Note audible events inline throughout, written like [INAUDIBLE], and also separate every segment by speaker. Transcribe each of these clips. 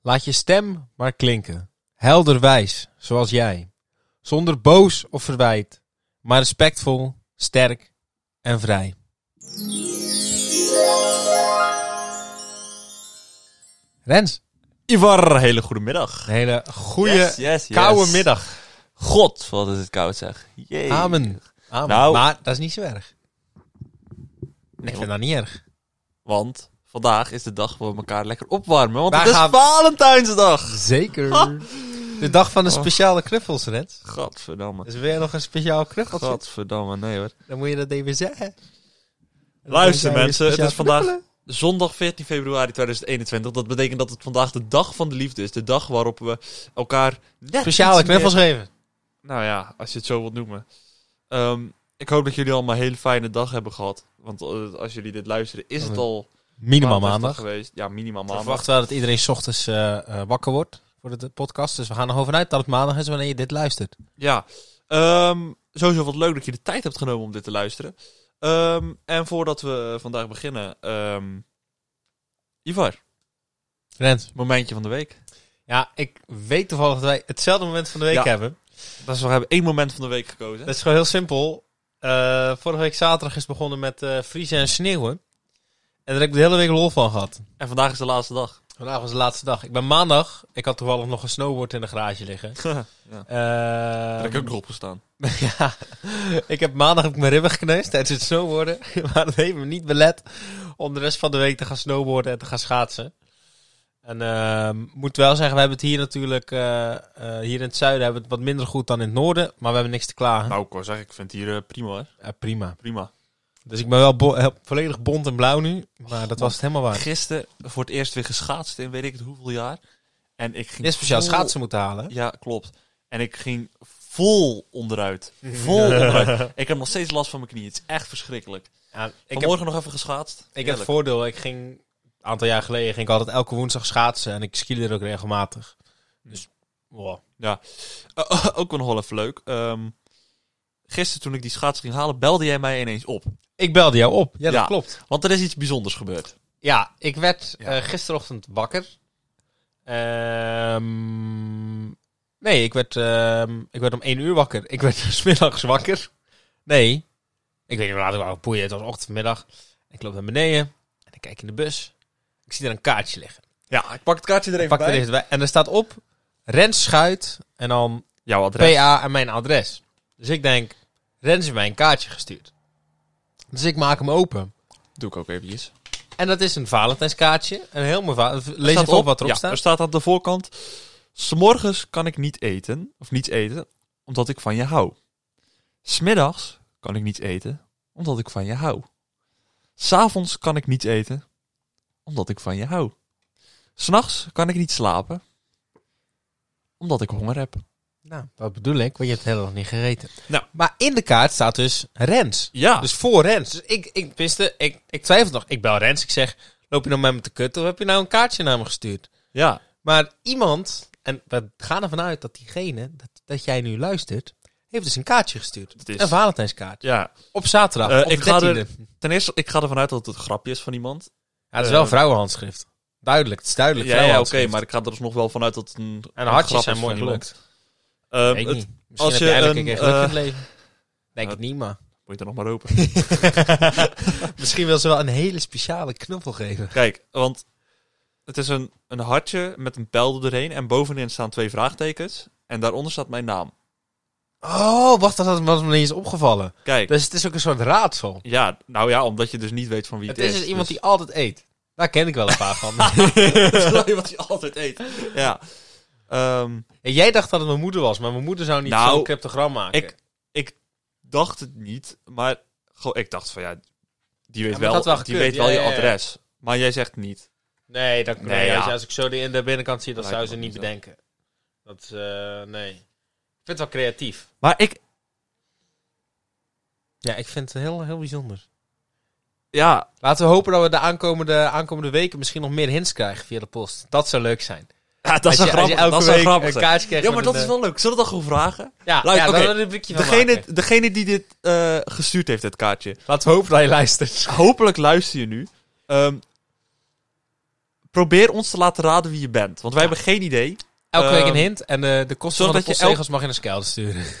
Speaker 1: Laat je stem maar klinken. Helder wijs, zoals jij. Zonder boos of verwijt. Maar respectvol, sterk en vrij. Rens,
Speaker 2: Ivar, hele goede middag.
Speaker 1: een hele goede
Speaker 2: Yes, yes, yes.
Speaker 1: koude middag.
Speaker 2: God, wat is het koud zeg. Jee.
Speaker 1: Amen. Amen.
Speaker 2: Nou.
Speaker 1: maar dat is niet zo erg.
Speaker 2: Nee,
Speaker 1: Ik
Speaker 2: want,
Speaker 1: vind dat niet erg.
Speaker 2: want vandaag is de dag waar we elkaar lekker opwarmen. Want
Speaker 1: Wij
Speaker 2: het is
Speaker 1: gaan-
Speaker 2: Valentijnsdag.
Speaker 1: Zeker. De dag van de
Speaker 2: Oh.
Speaker 1: speciale knuffels, Rens.
Speaker 2: Gadverdamme.
Speaker 1: Is er weer nog een speciaal knuffeltje?
Speaker 2: Gadverdamme, nee hoor.
Speaker 1: Dan moet je dat even zeggen.
Speaker 2: Luister
Speaker 1: Dan
Speaker 2: mensen, het
Speaker 1: speciaal
Speaker 2: is vandaag
Speaker 1: knuffelen.
Speaker 2: zondag 14 februari 2021. Dat betekent dat het vandaag de dag van de liefde is. De dag waarop we elkaar net
Speaker 1: Speciale
Speaker 2: iets meer-
Speaker 1: knuffels geven.
Speaker 2: Nou ja, als je het zo wilt noemen. Ehm, ik hoop dat jullie allemaal een hele fijne dag hebben gehad. Want eh, als jullie dit luisteren, is het al
Speaker 1: Minimaal
Speaker 2: Valentijnsdag
Speaker 1: maandag.
Speaker 2: geweest. Ja, minimaal
Speaker 1: We
Speaker 2: maandag.
Speaker 1: verwachten wel dat iedereen 's ochtends eh, eh, wakker wordt voor de podcast. Dus we gaan er gewoon vanuit dat het maandag is wanneer je dit luistert.
Speaker 2: Ja, ehm, sowieso wat leuk dat je de tijd hebt genomen om dit te luisteren. Ehm, en voordat we vandaag beginnen, ehm, Ivar,
Speaker 1: Rens.
Speaker 2: momentje van de week.
Speaker 1: Ja, ik weet toevallig dat wij hetzelfde moment van de week
Speaker 2: Ja.
Speaker 1: hebben.
Speaker 2: Dat is, we hebben één moment van de week gekozen.
Speaker 1: Dat is gewoon heel simpel. Eh, vorige week zaterdag is begonnen met eh, vriezen en sneeuwen. En daar heb ik de hele week lol van gehad.
Speaker 2: En vandaag is de laatste dag. [LAUGHS]
Speaker 1: Vandaag was de laatste dag. Ik ben maandag. Ik had toevallig nog een snowboard in de garage liggen.
Speaker 2: ja. Daar heb ik
Speaker 1: Eh,
Speaker 2: ook nog opgestaan.
Speaker 1: [LAUGHS] Ja, ik heb maandag heb ik mijn ribben gekneusd tijdens het snowboarden. [LAUGHS] Maar dat heeft me niet belet om de rest van de week te gaan snowboarden en te gaan schaatsen. En ehm, moet wel zeggen, we hebben het hier natuurlijk, eh, eh, hier in het zuiden hebben we het wat minder goed dan in het noorden. Maar we hebben niks te klagen.
Speaker 2: Nou, ik wou zeggen, ik vind het hier eh, prima hoor.
Speaker 1: Ja, prima.
Speaker 2: Prima.
Speaker 1: Dus ik ben wel bo- eh, volledig bont en blauw nu. Maar dat was het helemaal waar.
Speaker 2: Gisteren voor het eerst weer geschaatst in weet ik het hoeveel jaar. En ik ging
Speaker 1: Dit speciaal
Speaker 2: vol-
Speaker 1: schaatsen moeten halen.
Speaker 2: Ja, klopt. En ik ging vol [LAUGHS] onderuit. Vol onderuit. Ik heb nog steeds last van mijn knie. Het is echt verschrikkelijk.
Speaker 1: Ja, ik heb
Speaker 2: Vanmorgen nog even geschaatst.
Speaker 1: Ik heb
Speaker 2: Heerlijk.
Speaker 1: het voordeel, ik ging een aantal jaar geleden ging ik altijd elke woensdag schaatsen en ik skiede er ook regelmatig. Dus wow.
Speaker 2: Eh, ook nog wel even leuk. Ehm, gisteren toen ik die schaats ging halen, belde jij mij ineens op.
Speaker 1: ik belde jou op. Ja, dat
Speaker 2: Ja.
Speaker 1: klopt.
Speaker 2: Want er is iets bijzonders gebeurd.
Speaker 1: Ja, ik werd
Speaker 2: Ja.
Speaker 1: eh, gisterochtend wakker. Ehm, nee, ik werd, ehm, ik werd om één uur wakker. Ik werd [LAUGHS] 's middags wakker. Nee, ik weet niet hoe laat ik wou boeien. Het was ochtendmiddag. Ik loop naar beneden en ik kijk in de bus. Ik zie er een kaartje liggen.
Speaker 2: Ja, ik pak het kaartje er
Speaker 1: Ik pak er even bij. En er staat op Rens Schuit en dan
Speaker 2: Jouw adres.
Speaker 1: PA en mijn adres. Dus ik denk, Rens heeft mij een kaartje gestuurd. Dus ik maak hem open.
Speaker 2: Doe ik ook eventjes.
Speaker 1: En dat is een Valentijnskaartje. Een heel mooi va- Lees
Speaker 2: Staat
Speaker 1: even op wat erop
Speaker 2: Ja, er
Speaker 1: staat.
Speaker 2: staat aan de voorkant. S'morgens kan ik niet eten, of niets eten, omdat ik van je hou. S'middags kan ik niet eten, omdat ik van je hou. S'avonds kan ik niet eten, omdat ik van je hou. S'nachts kan ik niet slapen, omdat ik honger heb.
Speaker 1: Nou, dat bedoel ik, want je hebt het helemaal niet gereten.
Speaker 2: Nou.
Speaker 1: Maar in de kaart staat dus Rens.
Speaker 2: Ja,
Speaker 1: Dus voor Rens. Dus ik, ik, tenminste, ik, ik twijfel nog. Ik bel Rens, ik zeg, loop je nou met me te kutten of heb je nou een kaartje naar me gestuurd?
Speaker 2: ja. Maar
Speaker 1: Iemand, en we gaan ervan uit dat diegene, dat, dat jij nu luistert, heeft dus een kaartje gestuurd.
Speaker 2: Het is-
Speaker 1: Een Valentijnskaart.
Speaker 2: ja,
Speaker 1: Op zaterdag,
Speaker 2: Eh,
Speaker 1: op
Speaker 2: ik
Speaker 1: de
Speaker 2: ga er-
Speaker 1: 13e.
Speaker 2: ten eerste, ik ga ervan uit dat het een grapje is van iemand.
Speaker 1: Ja, het is
Speaker 2: Eh,
Speaker 1: wel een vrouwenhandschrift. Duidelijk, het is duidelijk
Speaker 2: Ja, ja oké,
Speaker 1: vrouwenhandschrift.
Speaker 2: maar ik ga er alsnog wel vanuit dat het een.
Speaker 1: En
Speaker 2: een grap
Speaker 1: hartjes
Speaker 2: is
Speaker 1: zijn mooi
Speaker 2: van iemand.
Speaker 1: gelukt.
Speaker 2: Ehm,
Speaker 1: Weet ik
Speaker 2: het-
Speaker 1: niet. Misschien
Speaker 2: als
Speaker 1: heb je
Speaker 2: je
Speaker 1: eigenlijk
Speaker 2: een,
Speaker 1: een keer geluk in
Speaker 2: eh,
Speaker 1: het leven. Denk
Speaker 2: eh,
Speaker 1: het niet, maar...
Speaker 2: Moet je er nog maar open.
Speaker 1: Misschien wil ze wel een hele speciale knuffel geven.
Speaker 2: Kijk, want het is een, een hartje met een pijl erdoorheen. En bovenin staan twee vraagtekens. En daaronder staat mijn naam.
Speaker 1: Oh, wacht, dat was me niet eens opgevallen.
Speaker 2: Kijk,
Speaker 1: Dus het is ook een soort raadsel.
Speaker 2: ja, nou ja, omdat je dus niet weet van wie
Speaker 1: Het
Speaker 2: het,
Speaker 1: is dus iemand
Speaker 2: [LAUGHS] dus-
Speaker 1: die altijd eet. Daar ken ik wel een paar van. [LAUGHS]
Speaker 2: [LAUGHS] Het is wel iemand die altijd eet. Ja. Ehm,
Speaker 1: En jij dacht dat het mijn moeder was, maar mijn moeder zou niet
Speaker 2: Nou,
Speaker 1: zo'n cryptogram maken.
Speaker 2: ik dacht het niet, maar goh, ik dacht van ja, die weet
Speaker 1: maar dat
Speaker 2: wel,
Speaker 1: had wel
Speaker 2: die
Speaker 1: gekund,
Speaker 2: weet wel
Speaker 1: ja, ja,
Speaker 2: je
Speaker 1: ja.
Speaker 2: adres. Maar jij zegt niet.
Speaker 1: Nee, dat, nee,
Speaker 2: Nee, ja.
Speaker 1: als, als ik zo die in de binnenkant zie, dat
Speaker 2: Lijkt
Speaker 1: zou
Speaker 2: me
Speaker 1: ze niet
Speaker 2: niet zo.
Speaker 1: bedenken. Dat, is, eh, nee. Ik vind het wel creatief.
Speaker 2: Maar ik,
Speaker 1: Ja, ik vind het heel, heel bijzonder.
Speaker 2: ja,
Speaker 1: Laten we hopen dat we de aankomende, aankomende weken misschien nog meer hints krijgen via de post. Dat zou leuk zijn.
Speaker 2: ja dat is
Speaker 1: als
Speaker 2: een
Speaker 1: je, als je elke
Speaker 2: grappig. dat is wel
Speaker 1: week
Speaker 2: grappig.
Speaker 1: een
Speaker 2: zijn.
Speaker 1: kaartje krijgt.
Speaker 2: Ja, maar
Speaker 1: met
Speaker 2: dat
Speaker 1: een,
Speaker 2: is wel leuk. Zullen we dat gewoon vragen?
Speaker 1: eh, Ja,
Speaker 2: Luid,
Speaker 1: ja
Speaker 2: oké.
Speaker 1: daar wil ik een rubriekje van
Speaker 2: Degene,
Speaker 1: maken.
Speaker 2: degene die dit eh, gestuurd heeft, het kaartje.
Speaker 1: Laten we hopen dat je luistert.
Speaker 2: Hopelijk luister je nu. Ehm, Probeer ons te laten raden wie je bent. Want wij hebben geen idee.
Speaker 1: Elke week
Speaker 2: Ehm,
Speaker 1: een hint en eh, de kosten van de
Speaker 2: zodat je
Speaker 1: postzegels mag je naar Skelder sturen. Nou,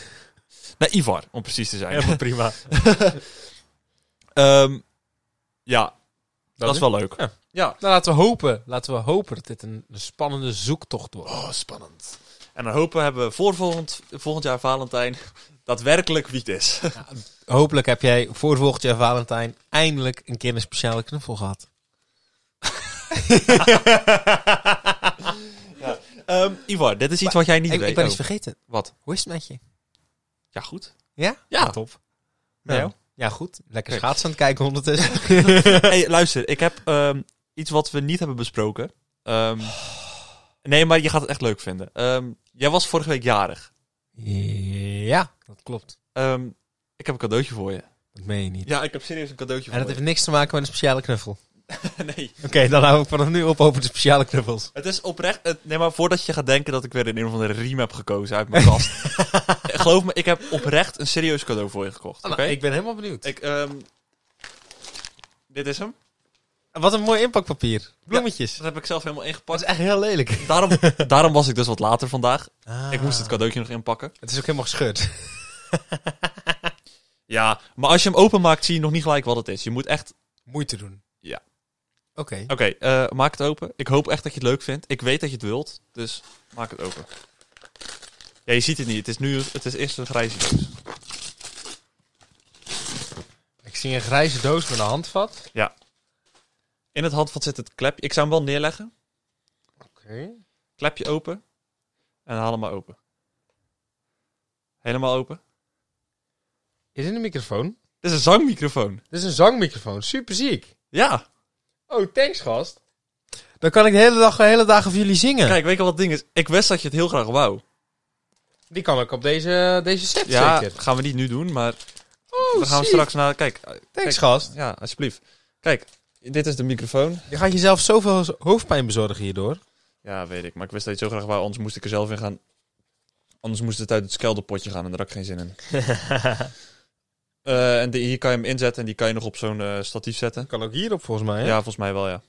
Speaker 2: Naar Ivar, om precies te zijn. Ehm,
Speaker 1: Helemaal [LAUGHS] prima.
Speaker 2: Ja, dat,
Speaker 1: is-
Speaker 2: is wel leuk.
Speaker 1: Ja.
Speaker 2: ja.
Speaker 1: Nou, laten we hopen. Laten we hopen dat dit een, een spannende zoektocht wordt.
Speaker 2: Oh, spannend. En dan hopen hebben we voor volgend, volgend jaar Valentijn [LAUGHS] daadwerkelijk wie het is. [LAUGHS]
Speaker 1: Hopelijk heb jij voor volgend jaar Valentijn eindelijk een keer een speciale knuffel gehad.
Speaker 2: Ehm, Ivar, dit is iets wat jij niet
Speaker 1: ik,
Speaker 2: weet.
Speaker 1: ik ben
Speaker 2: Oh,
Speaker 1: iets vergeten.
Speaker 2: Wat?
Speaker 1: Hoe is het met je?
Speaker 2: Ja, goed.
Speaker 1: Ja?
Speaker 2: Ja.
Speaker 1: top.
Speaker 2: Met jou?
Speaker 1: Ja, goed. Lekker
Speaker 2: Kijk.
Speaker 1: schaatsen aan het kijken [LAUGHS] ondertussen.
Speaker 2: hey, luister, ik heb ehm, iets wat we niet hebben besproken. Ehm,
Speaker 1: [SIGHS]
Speaker 2: nee, maar je gaat het echt leuk vinden. Ehm, jij was vorige week jarig.
Speaker 1: ja, dat klopt.
Speaker 2: Ehm, ik heb een cadeautje voor je.
Speaker 1: Dat meen je niet.
Speaker 2: Ja, ik heb serieus een cadeautje
Speaker 1: En dat heeft niks te maken met een speciale knuffel. Oké,
Speaker 2: [LAUGHS] nee,
Speaker 1: dan hou ik vanaf nu op over de speciale knuffels.
Speaker 2: het is oprecht. het- nee, maar voordat je gaat denken dat ik weer een of andere riem heb gekozen uit mijn kast. [LAUGHS] Eh, geloof me, ik heb oprecht een serieus cadeau voor je gekocht. Oké?
Speaker 1: Oh, nou, Ik ben helemaal benieuwd.
Speaker 2: Ah, Ik, ehm, dit is hem.
Speaker 1: Wat een mooi inpakpapier. Bloemetjes.
Speaker 2: Dat heb ik zelf helemaal ingepakt.
Speaker 1: Dat Oh, is echt heel lelijk.
Speaker 2: [LAUGHS] Daarom, daarom was ik dus wat later vandaag. Ik moest het
Speaker 1: Ah. het...
Speaker 2: cadeautje nog inpakken.
Speaker 1: Het is ook helemaal gescheurd.
Speaker 2: Ja, maar als je hem openmaakt, zie je nog niet gelijk wat het is. Je moet echt.
Speaker 1: Moeite doen.
Speaker 2: Ja.
Speaker 1: Oké.
Speaker 2: Oké, eh, maak het open. Ik hoop echt dat je het leuk vindt. Ik weet dat je het wilt, dus maak het open. Ja, je ziet het niet. Het is nu. Het is eerst een grijze doos.
Speaker 1: Ik zie een grijze doos met een handvat.
Speaker 2: In het handvat zit het klepje. Ik zou hem wel neerleggen.
Speaker 1: Oké.
Speaker 2: Klepje open. En haal hem maar open. Helemaal open.
Speaker 1: Is dit een microfoon?
Speaker 2: Dit is een zangmicrofoon.
Speaker 1: Dit is een zangmicrofoon. Super ziek.
Speaker 2: Ja.
Speaker 1: Oh, thanks gast. Dan kan ik de hele dag, de hele dagen voor jullie zingen.
Speaker 2: Kijk, weet je wat het ding is? Ik wist dat je het heel graag wou.
Speaker 1: Die kan ik op deze, deze set
Speaker 2: Ja,
Speaker 1: zeker.
Speaker 2: gaan we niet nu doen, maar
Speaker 1: Oh,
Speaker 2: we gaan
Speaker 1: ziek.
Speaker 2: straks naar. Kijk, eh,
Speaker 1: Thanks
Speaker 2: kijk.
Speaker 1: gast.
Speaker 2: ja, alsjeblieft. Kijk, dit is de microfoon.
Speaker 1: Je gaat jezelf zoveel hoofdpijn bezorgen hierdoor.
Speaker 2: Ja, weet ik. Maar ik wist dat je het zo graag wou, anders moest ik er zelf in gaan. Anders moest het uit het skelderpotje gaan en daar had ik geen [LAUGHS] zin in. Eh, en die- hier kan je hem inzetten en die kan je nog op zo'n eh, statief zetten.
Speaker 1: Kan ook hierop volgens mij.
Speaker 2: Ja,
Speaker 1: hè?
Speaker 2: volgens mij wel, ja.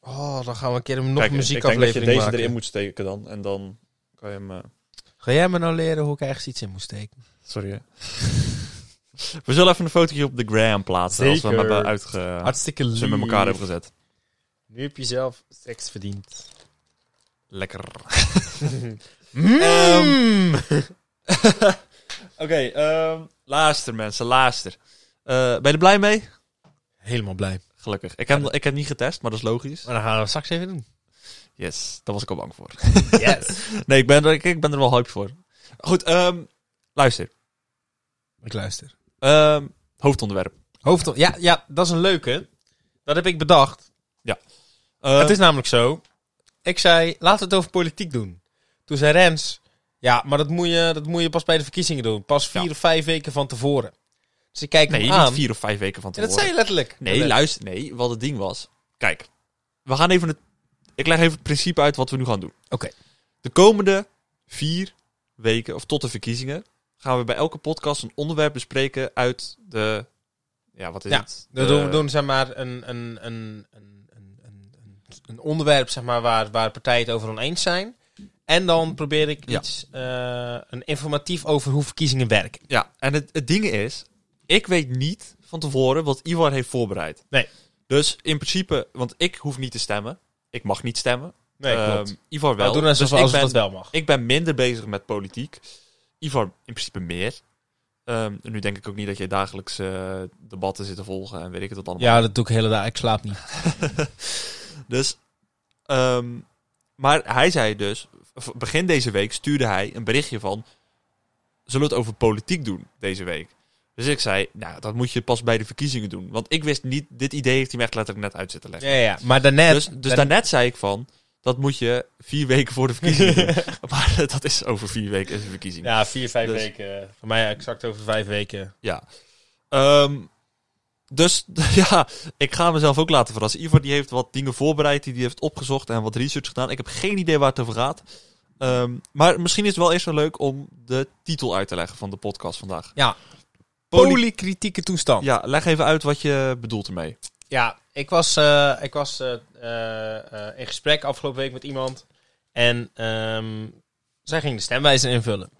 Speaker 1: Oh, dan gaan we een keer nog
Speaker 2: Kijk,
Speaker 1: een
Speaker 2: ik denk dat je
Speaker 1: muziekaflevering
Speaker 2: deze
Speaker 1: maken.
Speaker 2: erin moet steken dan. En dan kan je hem... eh,
Speaker 1: Ga jij me nou leren hoe ik ergens iets in moet steken?
Speaker 2: Sorry, hè. [LAUGHS] We zullen even een fotootje op de gram plaatsen als we hem
Speaker 1: Zeker.
Speaker 2: hebben uitge... Als
Speaker 1: Hartstikke
Speaker 2: we
Speaker 1: lief.
Speaker 2: hem met elkaar hebben gezet.
Speaker 1: Nu heb je zelf seks verdiend.
Speaker 2: Lekker.
Speaker 1: Mm.
Speaker 2: Oké, ehm luister mensen, luister. Eh, ben je er blij mee?
Speaker 1: Helemaal blij.
Speaker 2: Gelukkig. Ik heb, ik heb niet getest, maar dat is logisch.
Speaker 1: Maar dan gaan we straks even doen.
Speaker 2: Yes, daar was ik al bang voor. [LAUGHS]
Speaker 1: Yes.
Speaker 2: Nee, ik ben er, ik, ik ben er wel hyped voor. Goed, ehm, luister.
Speaker 1: [LAUGHS] ik luister.
Speaker 2: Ehm, hoofdonderwerp.
Speaker 1: Hoofd, ja, ja, dat is een leuke. Dat heb ik bedacht.
Speaker 2: Eh,
Speaker 1: het is namelijk zo. Ik zei, laten we het over politiek doen. Toen zei Rens, ja, maar dat moet je, dat moet je pas bij de verkiezingen doen. Pas vier
Speaker 2: Ja.
Speaker 1: of vijf weken van tevoren. Dus ik kijk
Speaker 2: nee,
Speaker 1: hem aan.
Speaker 2: niet vier of vijf weken van
Speaker 1: en dat
Speaker 2: tevoren.
Speaker 1: zei je letterlijk.
Speaker 2: Nee, luister. Nee, wat het ding was. Kijk, we gaan even het. Ik leg even het principe uit wat we nu gaan doen.
Speaker 1: Oké.
Speaker 2: De komende vier weken, of tot de verkiezingen, gaan we bij elke podcast een onderwerp bespreken uit de. Ja, wat is
Speaker 1: Ja,
Speaker 2: het?
Speaker 1: Dan
Speaker 2: De-
Speaker 1: doen we doen, zeg maar, een, een, een, een, een, een, een onderwerp zeg maar, waar, waar partijen het over oneens zijn. En dan probeer ik
Speaker 2: Ja.
Speaker 1: iets, eh, een informatief over hoe verkiezingen werken.
Speaker 2: Ja, en het, het ding is, ik weet niet van tevoren wat Ivar heeft voorbereid.
Speaker 1: Nee.
Speaker 2: Dus in principe, want ik hoef niet te stemmen. Ik mag niet stemmen.
Speaker 1: Eh,
Speaker 2: Ehm, Ivar wel.
Speaker 1: we doen alsof,
Speaker 2: Dus ik
Speaker 1: alsof
Speaker 2: ben-
Speaker 1: dat wel mag.
Speaker 2: Ik ben minder bezig met politiek. Ivar in principe meer. Ehm, nu denk ik ook niet dat jij dagelijks eh, debatten zit te volgen en weet ik het wat allemaal.
Speaker 1: Ja, dat doe ik hele dag. Ik slaap niet.
Speaker 2: Dus, ehm, maar hij zei dus, v- begin deze week stuurde hij een berichtje van, zullen we het over politiek doen deze week? Dus ik zei, nou, dat moet je pas bij de verkiezingen doen. Want ik wist niet, dit idee heeft hij me echt letterlijk net uit zitten leggen.
Speaker 1: Ja, ja. Maar daarnet...
Speaker 2: dus dus daarnet zei ik van, dat moet je vier weken voor de verkiezingen doen. Maar [LAUGHS] eh, dat is over vier weken is de verkiezing.
Speaker 1: Ja, vier, vijf
Speaker 2: Dus-
Speaker 1: weken. Voor mij exact over vijf weken.
Speaker 2: Ja. Ehm, dus [LAUGHS] ja, ik ga mezelf ook laten verrassen. Ivar die heeft wat dingen voorbereid, die die heeft opgezocht en wat research gedaan. Ik heb geen idee waar het over gaat. Ehm, maar misschien is het wel eerst wel leuk om de titel uit te leggen van de podcast vandaag.
Speaker 1: Ja.
Speaker 2: Poli-
Speaker 1: Polykritieke toestand.
Speaker 2: ja, leg even uit wat je bedoelt ermee.
Speaker 1: Ja, ik was, eh, ik was eh, eh, eh, in gesprek afgelopen week met iemand. En ehm, zij ging de stemwijzer invullen.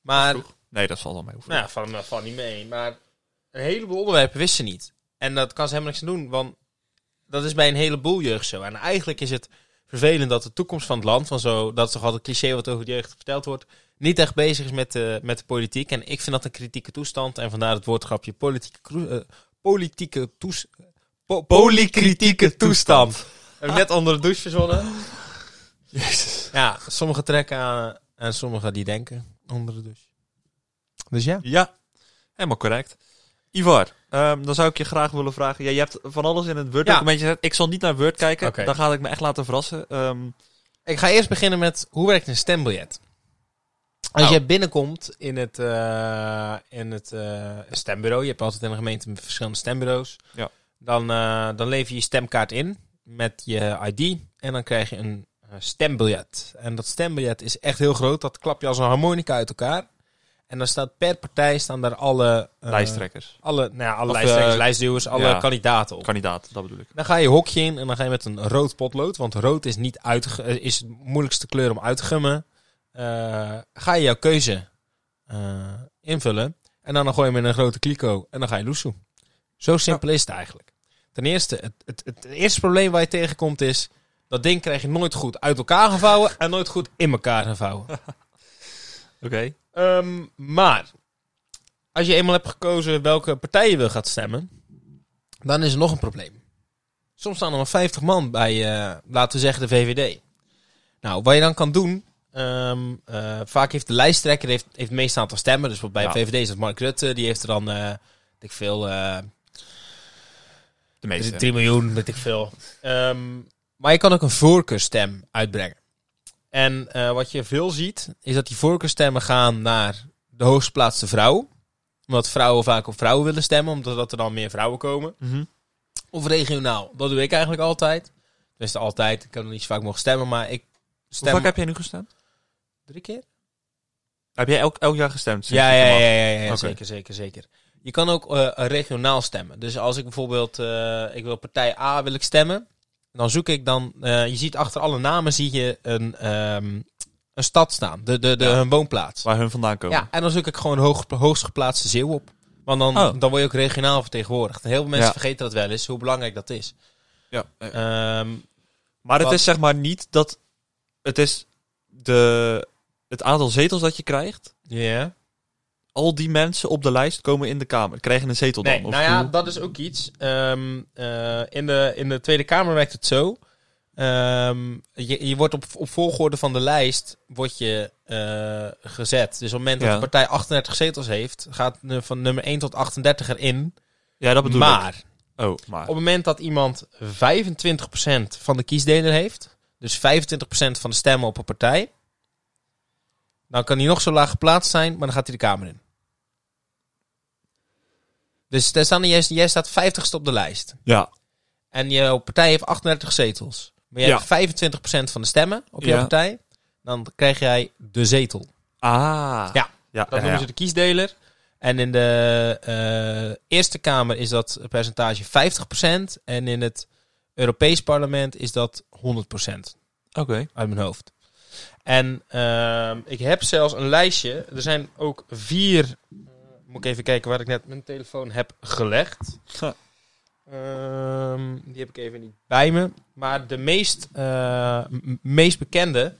Speaker 1: Maar, nou
Speaker 2: Nee, dat valt wel mee. hoeven.
Speaker 1: ja, van, van niet mee. Maar een heleboel onderwerpen wist ze niet. En dat kan ze helemaal niks aan doen, want dat is bij een heleboel jeugd zo. En eigenlijk is het vervelend dat de toekomst van het land, van zo, dat is toch altijd cliché wat over de jeugd verteld wordt, niet echt bezig is met de, met de politiek. En ik vind dat een kritieke toestand. En vandaar het woordgrapje politieke, kroe- eh, politieke toes, po- polykritieke toestand. Heb ik net onder de douche verzonnen.
Speaker 2: Jezus.
Speaker 1: Ja, sommigen trekken aan en sommigen die denken onder de douche. Dus ja.
Speaker 2: Ja, helemaal correct. Ivar, ehm, dan zou ik je graag willen vragen. Ja, je hebt van alles in het Word-documentje gezet. Ik zal niet naar Word kijken.
Speaker 1: Oké.
Speaker 2: Dan ga ik me echt laten verrassen. Ehm,
Speaker 1: Ik ga eerst beginnen met hoe werkt een stembiljet? Als
Speaker 2: Oh.
Speaker 1: jij binnenkomt in het, eh, in het eh, stembureau, je hebt altijd in de gemeente verschillende stembureaus,
Speaker 2: Ja.
Speaker 1: dan, eh, dan lever je je stemkaart in met je ID en dan krijg je een eh, stembiljet. En dat stembiljet is echt heel groot, dat klap je als een harmonica uit elkaar. En dan staat per partij staan daar alle, eh,
Speaker 2: lijsttrekkers.
Speaker 1: alle, nou ja, alle
Speaker 2: Of,
Speaker 1: lijsttrekkers,
Speaker 2: eh,
Speaker 1: lijstduwers, alle
Speaker 2: ja.
Speaker 1: kandidaten op.
Speaker 2: Kandidaat, dat bedoel ik.
Speaker 1: Dan ga je hokje in en dan ga je met een rood potlood. Want rood is, niet uit, eh, is de moeilijkste kleur om uit te gummen. Eh, ga je jouw keuze eh, invullen. En dan, dan gooi je hem in een grote kliko. En dan ga je loesoe. Zo simpel is het eigenlijk. Ten eerste, het, het, het, eerste probleem waar je tegenkomt is... Dat ding krijg je nooit goed uit elkaar gevouwen en nooit goed in elkaar gevouwen.
Speaker 2: Oké.
Speaker 1: Ehm, maar als je eenmaal hebt gekozen welke partij je wil gaan stemmen, dan is er nog een probleem. Soms staan er maar 50 man bij, eh, laten we zeggen, de VVD. Nou, wat je dan kan doen. ehm, eh, vaak heeft de lijsttrekker heeft, heeft het meeste aantal stemmen. Dus bijvoorbeeld bij
Speaker 2: Ja.
Speaker 1: VVD is dat Mark Rutte. Die heeft er dan, eh weet ik veel, eh, is
Speaker 2: De meeste.
Speaker 1: het 3 miljoen, weet ik veel. Ehm, maar je kan ook een voorkeurstem uitbrengen. En eh, wat je veel ziet, is dat die voorkeurstemmen gaan naar de hoogstplaatste vrouw. Omdat vrouwen vaak op vrouwen willen stemmen, omdat dat er dan meer vrouwen komen.
Speaker 2: Mhm.
Speaker 1: Of regionaal, dat doe ik eigenlijk altijd. Dus altijd, ik heb nog niet zo vaak mogen stemmen, maar ik
Speaker 2: Hoe
Speaker 1: stem
Speaker 2: vaak heb jij nu gestemd?
Speaker 1: drie keer.
Speaker 2: Heb jij elk, elk jaar gestemd? sinds
Speaker 1: Ja,
Speaker 2: je
Speaker 1: ja, ja,
Speaker 2: mag?
Speaker 1: ja, ja, ja,
Speaker 2: Oké.
Speaker 1: zeker, zeker, zeker. Je kan ook eh, regionaal stemmen. Dus als ik bijvoorbeeld, eh, ik wil partij A wil ik stemmen, dan zoek ik dan, eh, je ziet achter alle namen zie je een, ehm, een stad staan, de, de, de,
Speaker 2: Ja.
Speaker 1: hun woonplaats.
Speaker 2: Waar hun vandaan komen.
Speaker 1: Ja, en dan zoek ik gewoon hoog, hoogst geplaatste Zeeuw op. Want dan,
Speaker 2: Oh.
Speaker 1: dan word je ook regionaal vertegenwoordigd. En heel veel mensen
Speaker 2: Ja.
Speaker 1: vergeten dat wel eens, hoe belangrijk dat is.
Speaker 2: Ja.
Speaker 1: Ehm,
Speaker 2: Maar het
Speaker 1: Wat-
Speaker 2: is zeg maar niet dat. Het is de, het aantal zetels dat je krijgt.
Speaker 1: ja.
Speaker 2: Al die mensen op de lijst komen in de Kamer. Krijgen een zetel dan.
Speaker 1: Nee,
Speaker 2: of
Speaker 1: nou ja,
Speaker 2: hoe?
Speaker 1: dat is ook iets. Ehm, eh, in, de, in de Tweede Kamer werkt het zo. Ehm, je, je wordt op, op volgorde van de lijst wordt je, eh, gezet. Dus op het moment dat
Speaker 2: Ja.
Speaker 1: de partij 38 zetels heeft, gaat nu van nummer 1 tot 38 erin.
Speaker 2: ja, dat bedoel ik.
Speaker 1: maar
Speaker 2: Oh, maar.
Speaker 1: op het moment dat iemand 25% van de kiesdeler heeft, dus 25% van de stemmen op een partij, dan kan hij nog zo laag geplaatst zijn, maar dan gaat hij de Kamer in. Dus daar staan, jij, jij staat 50ste op de lijst.
Speaker 2: Ja.
Speaker 1: En jouw partij heeft 38 zetels. Maar jij
Speaker 2: Ja.
Speaker 1: hebt 25% van de stemmen op jouw
Speaker 2: Ja.
Speaker 1: partij. Dan krijg jij de zetel.
Speaker 2: Ah.
Speaker 1: Ja.
Speaker 2: ja
Speaker 1: Dat
Speaker 2: ja,
Speaker 1: noemen
Speaker 2: ja.
Speaker 1: ze de kiesdeler. En in de eh, Eerste Kamer is dat percentage 50%. En in het Europees Parlement is dat 100%
Speaker 2: Oké.
Speaker 1: uit mijn hoofd. En ehm, ik heb zelfs een lijstje. Er zijn ook vier. eh, moet ik even kijken waar ik net mijn telefoon heb gelegd.
Speaker 2: Ja.
Speaker 1: Ehm, die heb ik even niet bij me. Maar de meest, eh, m- meest bekende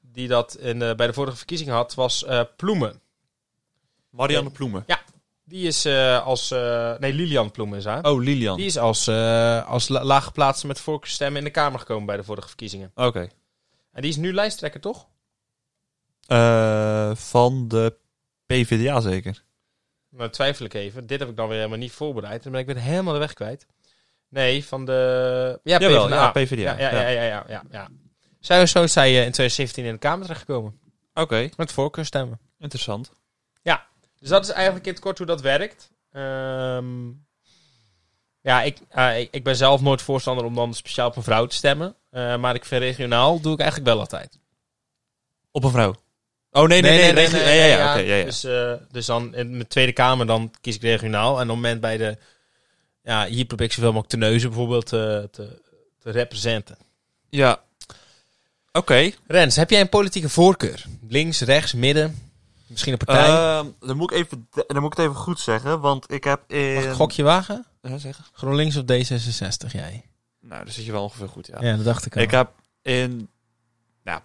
Speaker 1: die dat in, de- bij de vorige verkiezing had, was eh, Ploemen.
Speaker 2: Marianne Ploemen.
Speaker 1: Die is eh, als... eh, nee, Lilian Ploem is haar.
Speaker 2: Oh, Lilian.
Speaker 1: Die is als, eh als la- laaggeplaatste met voorkeurstemmen in de Kamer gekomen bij de vorige verkiezingen.
Speaker 2: Oké.
Speaker 1: En die is nu lijsttrekker, toch?
Speaker 2: Eh, van de PvdA zeker.
Speaker 1: Nou, twijfel ik even. Dit heb ik dan weer helemaal niet voorbereid. Dan ben ik weer helemaal de weg kwijt. Nee, van de... Ja,
Speaker 2: Jawel, ja,
Speaker 1: PvdA.
Speaker 2: PvdA.
Speaker 1: Ja, ja, ja, ja, ja, ja, ja. Zij is zo is zij eh, in 2017 in de Kamer terechtgekomen.
Speaker 2: Oké.
Speaker 1: Met voorkeurstemmen.
Speaker 2: Interessant.
Speaker 1: Dus dat is eigenlijk in het kort hoe dat werkt. Ehm, ja, ik, eh, ik, ik ben zelf nooit voorstander om dan speciaal op een vrouw te stemmen. Eh, maar ik vind regionaal doe ik eigenlijk wel altijd.
Speaker 2: Op een vrouw. Oh, nee, nee, nee. regi- ja, ja, Dus- ja, oké, ja, ja.
Speaker 1: Dus, eh, dus dan in mijn Tweede Kamer dan kies ik regionaal. En op het moment bij de ja, hier probeer ik zoveel mogelijk te neuzen bijvoorbeeld te, te, te representen.
Speaker 2: Ja. Oké.
Speaker 1: Rens, heb jij een politieke voorkeur? Links, rechts, midden? Misschien een partij?
Speaker 2: Ehm, dan, moet ik even, dan moet ik het even goed zeggen, want ik heb in...
Speaker 1: Mag ik een gokje wagen?
Speaker 2: Ja, zeggen?
Speaker 1: GroenLinks of D66 jij?
Speaker 2: Nou, dan zit je wel ongeveer goed, ja.
Speaker 1: Ja, dat dacht ik al.
Speaker 2: Ik heb in, nou,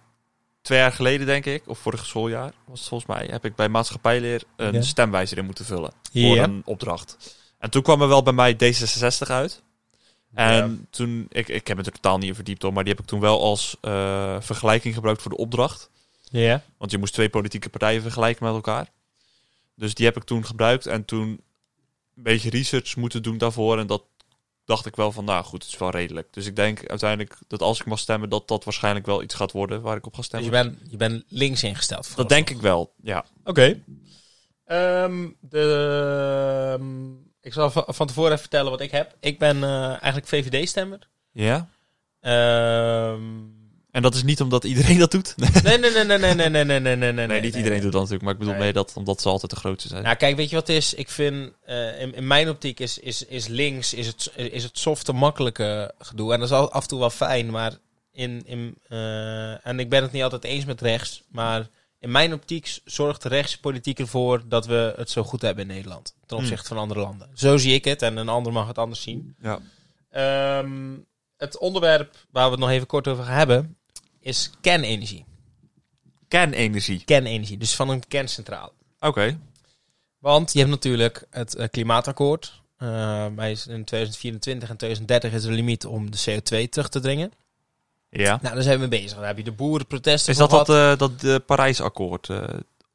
Speaker 2: twee jaar geleden denk ik, of vorig schooljaar was het volgens mij, heb ik bij maatschappijleer een
Speaker 1: Ja.
Speaker 2: stemwijzer in moeten vullen voor
Speaker 1: Ja.
Speaker 2: een opdracht. En toen kwam er wel bij mij D66 uit. En toen, ik, ik heb het er totaal niet in verdiept hoor, maar die heb ik toen wel als eh, vergelijking gebruikt voor de opdracht.
Speaker 1: Ja.
Speaker 2: Want je moest twee politieke partijen vergelijken met elkaar. Dus die heb ik toen gebruikt en toen een beetje research moeten doen daarvoor. En dat dacht ik wel van, nou goed, het is wel redelijk. Dus ik denk uiteindelijk dat als ik mag stemmen, dat dat waarschijnlijk wel iets gaat worden waar ik op ga
Speaker 1: Dus
Speaker 2: stemmen.
Speaker 1: je bent je bent links ingesteld.
Speaker 2: Dat denk ik wel, ja.
Speaker 1: Oké. Ehm, de, ehm, ik zal va- van tevoren even vertellen wat ik heb. Ik ben eh, eigenlijk VVD-stemmer.
Speaker 2: Ja?
Speaker 1: [LAUGHS] Ehm,
Speaker 2: En dat is niet omdat iedereen dat doet. Nee,
Speaker 1: nee, nee, nee, nee, nee, nee, nee, nee, nee, nee, nee.
Speaker 2: niet iedereen doet dat natuurlijk. Maar ik bedoel
Speaker 1: Nee.
Speaker 2: mee dat, omdat ze altijd de grootste zijn.
Speaker 1: Nou, kijk, weet je wat het is? Ik vind, eh, in, in mijn optiek is, is, is links is het, is het softe, makkelijke gedoe. En dat is al- af en toe wel fijn, maar in, in, eh, en ik ben het niet altijd eens met rechts. Maar in mijn optiek s- zorgt rechtspolitiek ervoor dat we het zo goed hebben in Nederland. Ten
Speaker 2: Hmm.
Speaker 1: opzichte van andere landen. Zo zie ik het en een ander mag het anders zien.
Speaker 2: Ja.
Speaker 1: Ehm, het onderwerp waar we het nog even kort over gaan hebben is kernenergie.
Speaker 2: Kernenergie.
Speaker 1: Kernenergie, dus van een kerncentrale.
Speaker 2: Oké.
Speaker 1: Want je hebt natuurlijk het eh, klimaatakkoord. Eh, wij is in 2024 en 2030 is de limiet om de CO2 terug te dringen.
Speaker 2: Ja.
Speaker 1: Nou, daar zijn we mee bezig. Daar heb je de boerenprotesten
Speaker 2: Is
Speaker 1: voor
Speaker 2: dat dat,
Speaker 1: gehad.
Speaker 2: eh dat eh, Parijsakkoord? eh,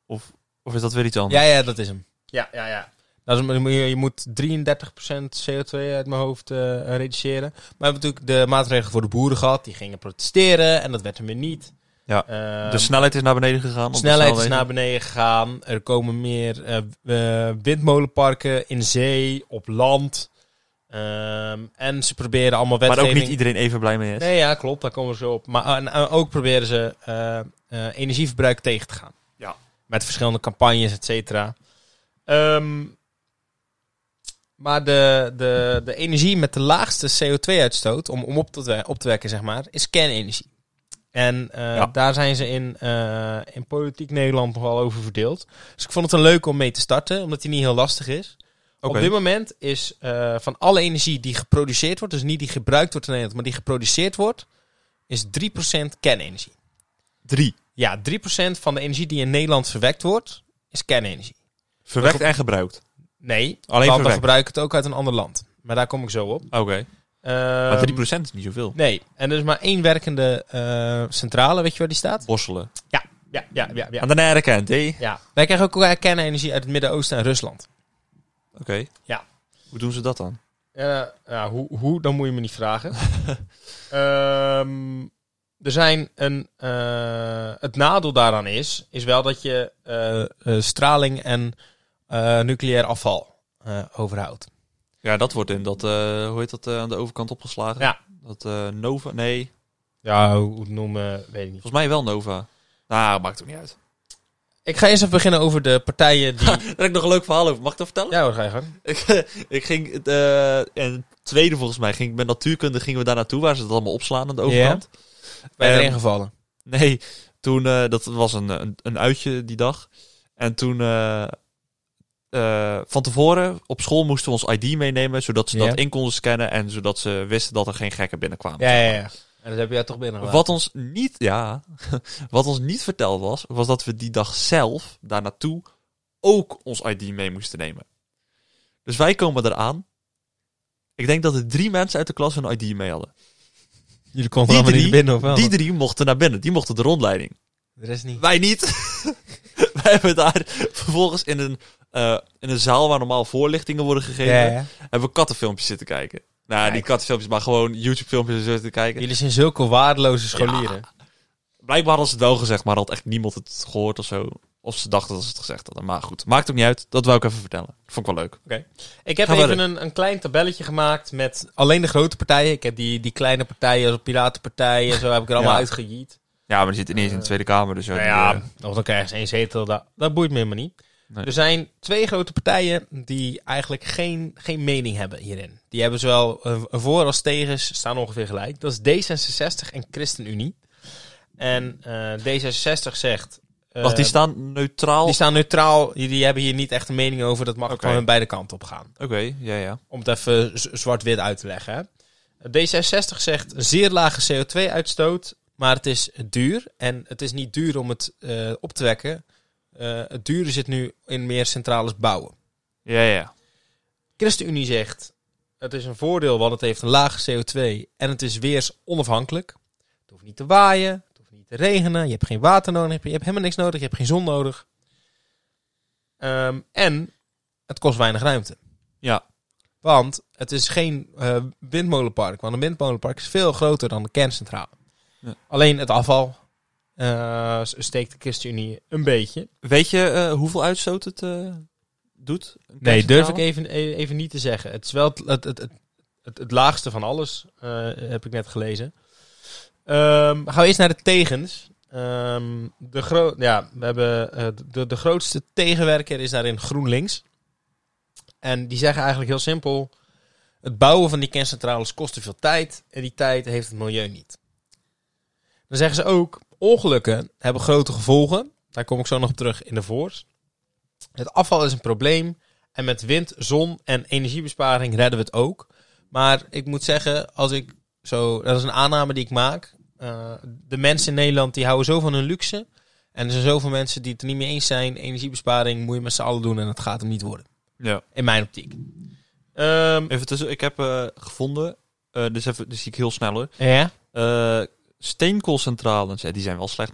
Speaker 2: of, of is dat weer iets anders?
Speaker 1: Ja, ja, dat is hem. Ja, ja, ja. Dat is, je- je moet 33% CO2 uit mijn hoofd eh, reduceren. Maar we hebben natuurlijk de maatregelen voor de boeren gehad. Die gingen protesteren en dat werd hem weer niet.
Speaker 2: Ja, Dus
Speaker 1: Ehm,
Speaker 2: de snelheid is naar beneden gegaan. op
Speaker 1: De
Speaker 2: de
Speaker 1: snelheid is
Speaker 2: snelwegen?
Speaker 1: naar beneden gegaan. Er komen meer eh, eh, windmolenparken in zee, op land. Ehm, en ze proberen allemaal
Speaker 2: Maar
Speaker 1: wetgeving...
Speaker 2: ook niet iedereen even blij mee is.
Speaker 1: Nee, ja, klopt. Daar komen we zo op. Maar en, en ook proberen ze eh, eh, energieverbruik tegen te gaan.
Speaker 2: Ja.
Speaker 1: Met verschillende campagnes, et cetera. Ehm, maar de, de, de energie met de laagste CO2-uitstoot, om, om op, te, we- op te wekken, zeg maar, is kernenergie. En eh,
Speaker 2: Ja.
Speaker 1: daar zijn ze in, eh, in politiek Nederland nogal over verdeeld. Dus ik vond het een leuke om mee te starten, omdat die niet heel lastig is.
Speaker 2: Oké.
Speaker 1: Op dit moment is eh, van alle energie die geproduceerd wordt, dus niet die gebruikt wordt in Nederland, maar die geproduceerd wordt, is 3% kernenergie.
Speaker 2: Drie.
Speaker 1: Ja, 3% van de energie die in Nederland verwekt wordt, is kernenergie.
Speaker 2: Verwekt en gebruikt.
Speaker 1: Nee, want
Speaker 2: Alleen
Speaker 1: we
Speaker 2: verwekt.
Speaker 1: gebruiken het ook uit een ander land. Maar daar kom ik zo op.
Speaker 2: Oké.
Speaker 1: Ehm,
Speaker 2: maar 3% is niet zoveel.
Speaker 1: Nee, en er is maar één werkende eh, centrale, weet je waar die staat?
Speaker 2: Borselen.
Speaker 1: Ja, ja, ja, ja. ja.
Speaker 2: Aan de nare kant, hé.
Speaker 1: ja. Wij krijgen ook eh, kernenergie uit het Midden-Oosten en Rusland.
Speaker 2: Oké.
Speaker 1: Ja.
Speaker 2: Hoe doen ze dat dan?
Speaker 1: Eh, ja, hoe, hoe, dan moet je me niet [LAUGHS] vragen. Ehm, er zijn een, eh, het nadeel daaraan is, is wel dat je eh, eh, straling en eh, nucleair afval eh, overhoudt.
Speaker 2: Ja, dat wordt in dat, eh, hoe heet dat, eh, aan de overkant opgeslagen?
Speaker 1: Ja.
Speaker 2: Dat eh, Nova, nee,
Speaker 1: Ja, hoe het noemen, weet ik niet.
Speaker 2: volgens mij wel Nova. Nou, maakt ook niet uit.
Speaker 1: Ik ga eerst even beginnen over de partijen die... [LAUGHS]
Speaker 2: Daar heb ik nog een leuk verhaal over. Mag ik dat vertellen?
Speaker 1: ja hoor, ga je gang.
Speaker 2: Ik, [LAUGHS] ik ging, eh, en tweede volgens mij, ging ik met natuurkunde gingen we daar naartoe, waar ze het allemaal opslaan aan de overkant.
Speaker 1: Bij
Speaker 2: Ehm,
Speaker 1: erin gevallen.
Speaker 2: Nee, toen, eh, dat was een, een, een uitje die dag. En toen, eh, eh, van tevoren op school moesten we ons ID meenemen, zodat ze
Speaker 1: Ja.
Speaker 2: dat in konden scannen en zodat ze wisten dat er geen gekken binnenkwamen.
Speaker 1: Ja, ja, ja. En dat heb jij toch binnen
Speaker 2: Wat ons niet, ja, [LAUGHS] wat ons niet verteld was, was dat we die dag zelf daar naartoe ook ons ID mee moesten nemen. Dus wij komen eraan. Ik denk dat er drie mensen uit de klas hun ID mee hadden.
Speaker 1: Jullie konden
Speaker 2: Die
Speaker 1: allemaal niet
Speaker 2: drie,
Speaker 1: binnen, of wel?
Speaker 2: die drie mochten naar binnen, die mochten de rondleiding.
Speaker 1: Er is niet.
Speaker 2: Wij niet. [LAUGHS] Wij hebben daar vervolgens in een, eh, in een zaal waar normaal voorlichtingen worden gegeven,
Speaker 1: Ja, ja.
Speaker 2: hebben we kattenfilmpjes zitten kijken. Nou, niet
Speaker 1: Kijk.
Speaker 2: kattenfilmpjes, maar gewoon YouTube-filmpjes zitten kijken.
Speaker 1: Jullie zijn zulke waardeloze scholieren.
Speaker 2: Blijkbaar hadden ze het wel gezegd, maar had echt niemand het gehoord of zo. Of ze dachten dat ze het gezegd hadden. Maar goed, maakt ook niet uit. Dat wou ik even vertellen. Vond ik wel leuk.
Speaker 1: Ik heb
Speaker 2: Ga
Speaker 1: even
Speaker 2: verder.
Speaker 1: een, een klein tabelletje gemaakt met alleen de grote partijen. Ik heb die, die kleine partijen, als piratenpartijen, en zo heb ik er allemaal
Speaker 2: Ja.
Speaker 1: uitgejiet.
Speaker 2: Ja, maar die zit ineens in de Tweede Kamer, dus ja.
Speaker 1: Eh, Nou
Speaker 2: die,
Speaker 1: ja,
Speaker 2: eh,
Speaker 1: of dan krijgen ze één zetel. Dat, dat boeit me helemaal niet.
Speaker 2: Nee.
Speaker 1: Er zijn twee grote partijen die eigenlijk geen, geen mening hebben hierin. Die hebben zowel eh, voor als tegen staan ongeveer gelijk. Dat is D66 en ChristenUnie. En eh, D66 zegt... eh,
Speaker 2: Wacht, die staan neutraal.
Speaker 1: die staan neutraal. Die, die hebben hier niet echt een mening over. Dat mag
Speaker 2: Oké.
Speaker 1: van hun beide kanten op gaan.
Speaker 2: Oké, ja, ja.
Speaker 1: Om het even z- zwart-wit uit te leggen. hè. D66 zegt zeer lage CO2-uitstoot, maar het is duur. En het is niet duur om het eh, op te wekken. Eh, het dure zit nu in meer centrales bouwen.
Speaker 2: Ja, ja.
Speaker 1: ChristenUnie zegt, het is een voordeel, want het heeft een lage CO2 en het is weersonafhankelijk. Het hoeft niet te waaien, het hoeft niet te regenen, je hebt geen water nodig, je hebt helemaal niks nodig, je hebt geen zon nodig. Ehm, en het kost weinig ruimte.
Speaker 2: Ja,
Speaker 1: Want het is geen eh, windmolenpark. Want een windmolenpark is veel groter dan de kerncentrale.
Speaker 2: Ja.
Speaker 1: Alleen het afval eh, s- steekt de ChristenUnie een beetje.
Speaker 2: Weet je eh, hoeveel uitstoot het eh, doet? Een
Speaker 1: Nee, durf ik
Speaker 2: kerncentrale?
Speaker 1: even, e- even niet te zeggen. Het is wel het, het, het, het, het, het laagste van alles, eh, heb ik net gelezen. Ehm, gaan we eerst naar de tegens. Ehm, de, gro- ja, we hebben, eh, de, de grootste tegenwerker is daarin GroenLinks. En die zeggen eigenlijk heel simpel... Het bouwen van die kerncentrales kost te veel tijd. En die tijd heeft het milieu niet. Dan zeggen ze ook... Ongelukken hebben grote gevolgen. Daar kom ik zo nog op terug in de voors. Het afval is een probleem. En met wind, zon en energiebesparing redden we het ook. Maar ik moet zeggen, als ik zo, dat is een aanname die ik maak. Eh, de mensen in Nederland die houden zo van hun luxe. En er zijn zoveel mensen die het er niet mee eens zijn. Energiebesparing moet je met z'n allen doen en dat gaat hem niet worden.
Speaker 2: Ja.
Speaker 1: In mijn optiek. Ehm,
Speaker 2: Even tussen, ik heb eh, gevonden, eh, dus even, dus zie ik heel snel hoor.
Speaker 1: ja?
Speaker 2: Eh, steenkoolcentrales, ja, die zijn wel slecht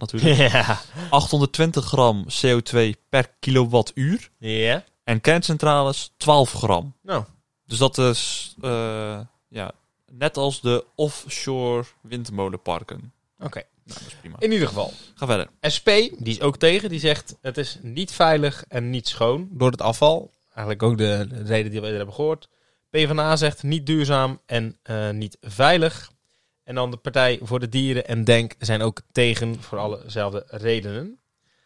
Speaker 1: [LAUGHS]
Speaker 2: natuurlijk.
Speaker 1: ja.
Speaker 2: 820 gram CO2 per kilowattuur.
Speaker 1: Ja.
Speaker 2: En kerncentrales 12 gram.
Speaker 1: Nou,
Speaker 2: Dus dat is, eh, ja, net als de offshore windmolenparken.
Speaker 1: oké.
Speaker 2: Nou, dat is prima.
Speaker 1: In ieder geval.
Speaker 2: Ga verder.
Speaker 1: SP, die is ook tegen, die zegt het is niet veilig en niet schoon door het afval. Eigenlijk ook de de reden die we eerder hebben gehoord. PvdA zegt niet duurzaam en eh, niet veilig. En dan de Partij voor de Dieren en Denk zijn ook tegen voor allezelfde redenen.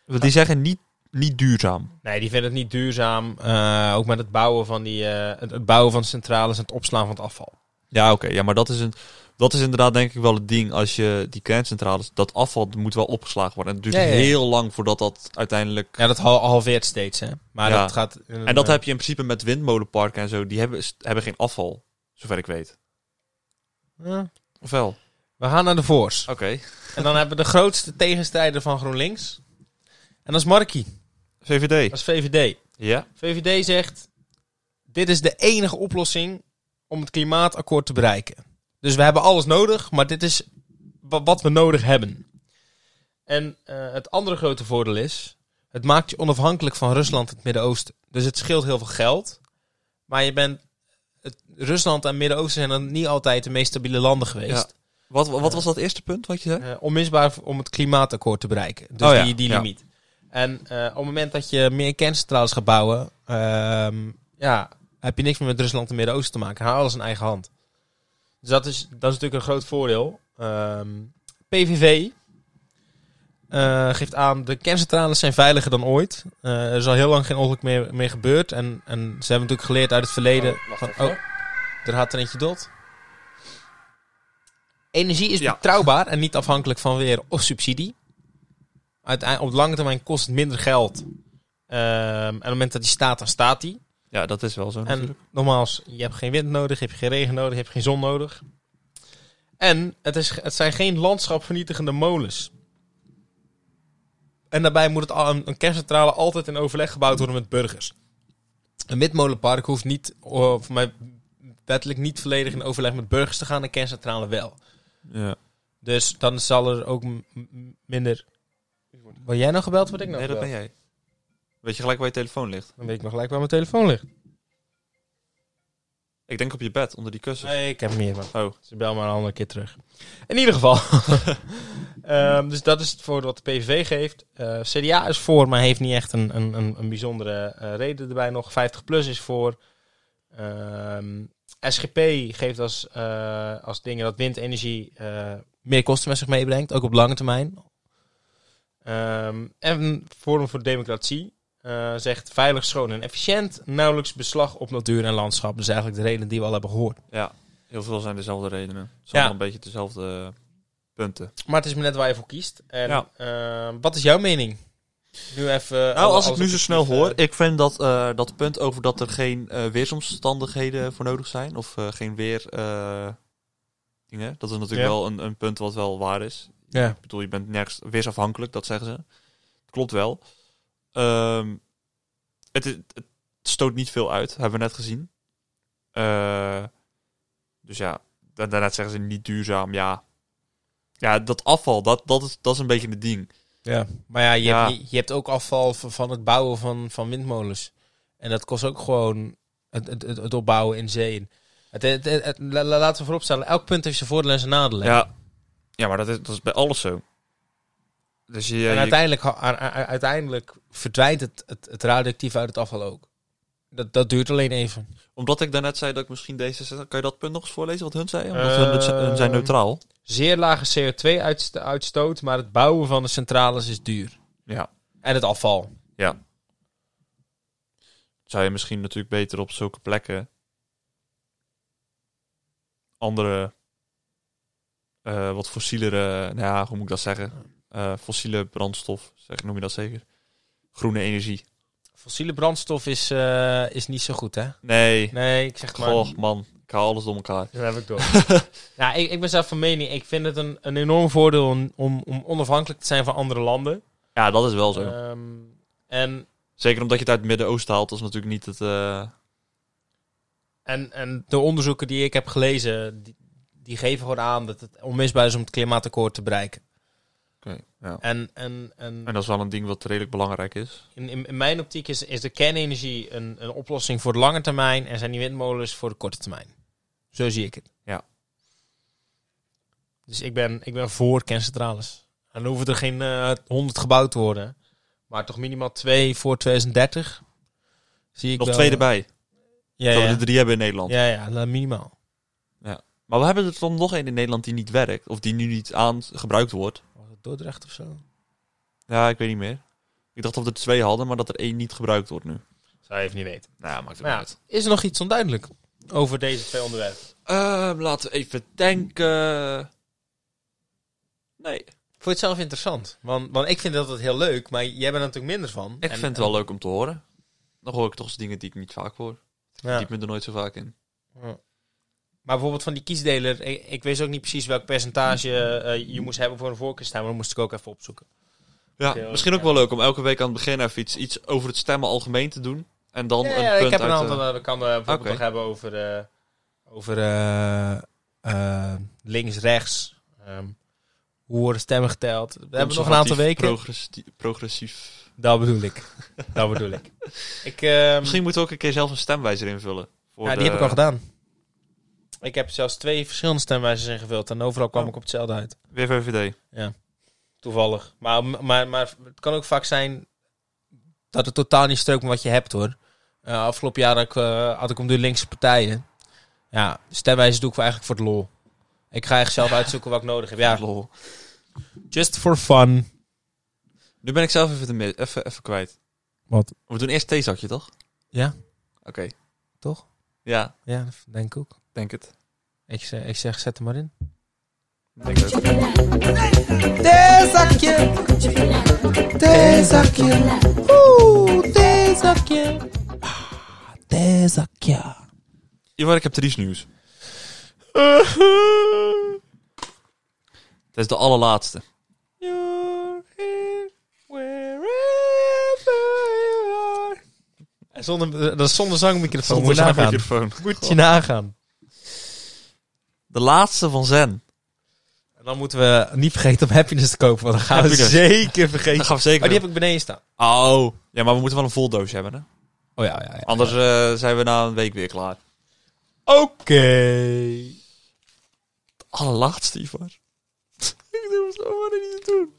Speaker 2: Want die zeggen niet, niet duurzaam.
Speaker 1: Nee, die vinden het niet duurzaam. eh, ook met het bouwen van die, eh, het, het bouwen van centrales en het opslaan van het afval.
Speaker 2: Ja, oké. Ja, maar dat is, een, dat is inderdaad denk ik wel het ding. Als je die kerncentrales, dat afval moet wel opgeslagen worden. En het duurt
Speaker 1: Ja, ja, ja.
Speaker 2: heel lang voordat dat uiteindelijk...
Speaker 1: Ja, dat hal- halveert steeds, hè. Maar
Speaker 2: Ja.
Speaker 1: dat gaat... eh,
Speaker 2: En dat heb je in principe met windmolenparken en zo. Die hebben, hebben geen afval, zover ik weet.
Speaker 1: Ja.
Speaker 2: Of wel? Oké.
Speaker 1: eh, We gaan naar de voors. En dan hebben we de grootste tegenstrijder van GroenLinks. En dat is Markie.
Speaker 2: VVD.
Speaker 1: Dat is VVD.
Speaker 2: Ja.
Speaker 1: VVD zegt: Dit is de enige oplossing om het klimaatakkoord te bereiken. Dus we hebben alles nodig, maar dit is wa- wat we nodig hebben. En eh, het andere grote voordeel is: het maakt je onafhankelijk van Rusland en het Midden-Oosten. Dus het scheelt heel veel geld. Maar je bent. Het, Rusland en Midden-Oosten zijn dan niet altijd de meest stabiele landen geweest.
Speaker 2: Wat, wat was dat eerste punt wat je zei?
Speaker 1: Eh, onmisbaar v- om het klimaatakkoord te bereiken. Dus
Speaker 2: Oh ja,
Speaker 1: die, die
Speaker 2: ja.
Speaker 1: limiet. En eh, op het moment dat je meer kerncentrales gaat bouwen, ehm, ja, heb je niks meer met Rusland en Midden-Oosten te maken. Haal alles in eigen hand. Dus dat is, dat is natuurlijk een groot voordeel. Ehm, PVV eh, geeft aan, de kerncentrales zijn veiliger dan ooit. Eh, er is al heel lang geen ongeluk meer, meer gebeurd. En, en ze hebben natuurlijk geleerd uit het verleden. van, oh, er gaat er eentje dood. Energie is
Speaker 2: Ja.
Speaker 1: betrouwbaar en niet afhankelijk van weer of subsidie. Uiteindelijk, op de lange termijn kost het minder geld. Ehm, en op het moment dat die staat, dan staat die.
Speaker 2: Ja, dat is wel zo
Speaker 1: En nogmaals, je hebt geen wind nodig, je hebt geen regen nodig, je hebt geen zon nodig. En het, is, het zijn geen landschapvernietigende molens. En daarbij moet het, al- een, een kerncentrale altijd in overleg gebouwd worden met burgers. Een windmolenpark hoeft niet, oh, voor mij wettelijk niet volledig in overleg met burgers te gaan, een kerncentrale wel.
Speaker 2: Ja.
Speaker 1: Dus dan zal er ook m- m- minder... Wil jij nou gebeld? Word ik nou
Speaker 2: Nee, dat ben
Speaker 1: gebeld?
Speaker 2: jij. Weet je gelijk waar je telefoon ligt?
Speaker 1: Dan weet ik nog gelijk waar mijn telefoon ligt.
Speaker 2: Ik denk op je bed, onder die kussen.
Speaker 1: Nee, ik heb meer man.
Speaker 2: Oh.
Speaker 1: Ze bel maar een andere keer terug. In ieder geval. Ehm, dus dat is het voordeel wat de PVV geeft. Eh, CDA is voor, maar heeft niet echt een, een, een, een bijzondere eh, reden erbij nog. 50PLUS is voor. Ehm, SGP geeft als, eh, als dingen dat windenergie eh, meer kosten met zich meebrengt. Ook op lange termijn. Ehm, en Forum voor Democratie eh, zegt veilig, schoon en efficiënt. Nauwelijks beslag op natuur en landschap. Dat is eigenlijk de reden die we al hebben gehoord.
Speaker 2: Ja, heel veel zijn dezelfde redenen. Het zijn
Speaker 1: Ja.
Speaker 2: allemaal een beetje dezelfde eh, punten.
Speaker 1: Maar het is maar net waar je voor kiest. En
Speaker 2: Ja.
Speaker 1: eh, wat is jouw mening? Nu even. eh,
Speaker 2: Nou, als ik nu zo snel hoor, ik vind dat eh, dat punt over dat er geen eh, weersomstandigheden voor nodig zijn, of eh, geen weer eh, dingen, dat is natuurlijk
Speaker 1: Ja.
Speaker 2: wel een, een punt wat wel waar is.
Speaker 1: Ja.
Speaker 2: Ik bedoel, je bent nergens weersafhankelijk, dat zeggen ze. Klopt wel. Ehm, het, is- het stoot niet veel uit, hebben we net gezien. Eh, dus ja, da- daarna zeggen ze niet duurzaam, ja. Ja, dat afval, dat, dat, is, dat is een beetje het ding.
Speaker 1: Ja. Maar ja, je,
Speaker 2: Ja.
Speaker 1: Hebt, je, je hebt ook afval van, van het bouwen van, van windmolens. En dat kost ook gewoon het, het, het, het opbouwen in zee. Het, het, het- het- la- la- laten we vooropstellen, elk punt heeft zijn voordelen en zijn nadelen.
Speaker 2: Ja, ja maar dat is, dat is bij alles zo. Dus je, je-
Speaker 1: en uiteindelijk, ha- a- a- uiteindelijk verdwijnt het, het, het radioactief uit het afval ook. Dat, dat duurt alleen even.
Speaker 2: omdat ik daarnet zei dat ik misschien deze... Kan je dat punt nog eens voorlezen wat hun zei? Omdat hun, het-
Speaker 1: Ehm,
Speaker 2: hun zijn neutraal.
Speaker 1: Zeer lage CO2-uitstoot, maar het bouwen van de centrales is duur.
Speaker 2: Ja.
Speaker 1: En het afval.
Speaker 2: Zou je misschien natuurlijk beter op zulke plekken... Andere... eh, wat fossielere... Nou ja, hoe moet ik dat zeggen? Eh, fossiele brandstof, zeg, noem je dat zeker? Groene energie.
Speaker 1: Fossiele brandstof is, eh, is niet zo goed, hè?
Speaker 2: Nee.
Speaker 1: Nee, ik zeg maar...
Speaker 2: Goh, man. Ik haal alles door elkaar.
Speaker 1: Dat heb ik [LAUGHS] door. nou, ik, ik ben zelf van mening. Ik vind het een, een enorm voordeel om, om, om onafhankelijk te zijn van andere landen.
Speaker 2: Ja, dat is wel zo.
Speaker 1: Ehm, en,
Speaker 2: Zeker omdat je het uit het Midden-Oosten haalt. Dat is natuurlijk niet het... eh,
Speaker 1: en, en de onderzoeken die ik heb gelezen, die, die geven gewoon aan dat het onmisbaar is om het klimaatakkoord te bereiken.
Speaker 2: Oké, ja.
Speaker 1: En, en, en
Speaker 2: En dat is wel een ding wat redelijk belangrijk is.
Speaker 1: in, in, in mijn optiek is, is de kernenergie een, een oplossing voor de lange termijn en zijn die windmolens voor de korte termijn. Zo zie ik het.
Speaker 2: Ja.
Speaker 1: Dus ik ben, ik ben voor kerncentrales. En dan hoeven er geen eh, honderd 100 gebouwd te worden. Maar toch minimaal twee voor 2030. Zie ik
Speaker 2: Nog
Speaker 1: wel. eh,
Speaker 2: twee erbij.
Speaker 1: Ja,
Speaker 2: Dat we
Speaker 1: ja.
Speaker 2: er drie hebben in Nederland.
Speaker 1: ja, ja nou, minimaal.
Speaker 2: Maar we hebben er dan nog één in Nederland die niet werkt. Of die nu niet aan gebruikt wordt.
Speaker 1: Was het Dordrecht of zo?
Speaker 2: Ja, ik weet niet meer. Ik dacht dat we er twee hadden, maar dat er één niet gebruikt wordt nu.
Speaker 1: Zou je even niet weten.
Speaker 2: Nou ja, maakt het
Speaker 1: Maar ja, is er nog iets onduidelijk over deze twee onderwerpen?
Speaker 2: Ehm, laten we even denken. Nee.
Speaker 1: Vond je het zelf interessant? Want, want ik vind dat het heel leuk, maar jij bent er natuurlijk minder van.
Speaker 2: Ik vind het wel leuk om te horen. Dan hoor ik toch eens dingen die ik niet vaak hoor.
Speaker 1: Ja.
Speaker 2: Die ik me er nooit zo vaak in.
Speaker 1: Maar bijvoorbeeld van die kiesdeler, ik, ik wist ook niet precies welk percentage eh, je moest hebben voor een voorkeurstem, maar dat moest ik ook even opzoeken.
Speaker 2: Ja,
Speaker 1: Oké,
Speaker 2: misschien ook wel leuk om elke week aan het begin even iets, iets over het stemmen algemeen te doen. En dan
Speaker 1: Ja,
Speaker 2: een
Speaker 1: ja,
Speaker 2: punt
Speaker 1: ik heb een
Speaker 2: uit,
Speaker 1: aantal,
Speaker 2: eh,
Speaker 1: eh, we kan eh, bijvoorbeeld
Speaker 2: Oké.
Speaker 1: nog hebben over, eh, over eh, eh, links, rechts, ehm, hoe worden stemmen geteld. We hebben nog een aantal
Speaker 2: conservatief,
Speaker 1: weken.
Speaker 2: progressi- progressief.
Speaker 1: Dat bedoel ik. [LAUGHS] Dat bedoel ik. ik ehm,
Speaker 2: Misschien moeten we ook een keer zelf een stemwijzer invullen. Voor
Speaker 1: ja, die
Speaker 2: de-
Speaker 1: heb ik al gedaan. Ik heb zelfs twee verschillende stemwijzers ingevuld en overal kwam ik op hetzelfde uit.
Speaker 2: Weer VVD.
Speaker 1: toevallig. Maar, maar, maar het kan ook vaak zijn dat het totaal niet strookt met wat je hebt hoor. Eh, afgelopen jaar had ik, eh, had ik om de linkse partijen. Ja, stemwijze doe ik eigenlijk voor het lol. Ik ga echt zelf uitzoeken wat ik nodig heb. Ja,
Speaker 2: Lol.
Speaker 1: just for fun.
Speaker 2: Nu ben ik zelf even, de mi- even, even kwijt.
Speaker 1: Wat?
Speaker 2: We doen eerst theezakje, toch?
Speaker 1: Ja.
Speaker 2: Oké.
Speaker 1: Toch?
Speaker 2: Ja,
Speaker 1: Ja, dat denk ik ook.
Speaker 2: denk het.
Speaker 1: Ik zeg, ik zeg zet hem maar in.
Speaker 2: Denk het.
Speaker 1: Theezakje! Theezakje! Oeh, theezakje! Ah, Theezakje!
Speaker 2: Ivar, ik heb triest nieuws. [LAUGHS] Het is de allerlaatste.
Speaker 1: You're here wherever you are. En zonder, eh, dat is zonder zangmicrofoon.
Speaker 2: Zonder
Speaker 1: moet je nagaan.
Speaker 2: nou microfoon.
Speaker 1: Moet je nagaan.
Speaker 2: De laatste van Zen.
Speaker 1: En dan moeten we niet vergeten om happiness te kopen, want dan gaan we
Speaker 2: Happiness.
Speaker 1: zeker
Speaker 2: Dat
Speaker 1: vergeten.
Speaker 2: gaan we zeker
Speaker 1: Oh, die heb ik beneden staan.
Speaker 2: doen. Oh. Ja, maar we moeten wel een vol doos hebben, hè?
Speaker 1: Oh ja, ja, ja.
Speaker 2: Anders eh, zijn we na een week weer klaar.
Speaker 1: Oké.
Speaker 2: De allerlaatste, Ivar. [LAUGHS] ik durf het allemaal niet te doen.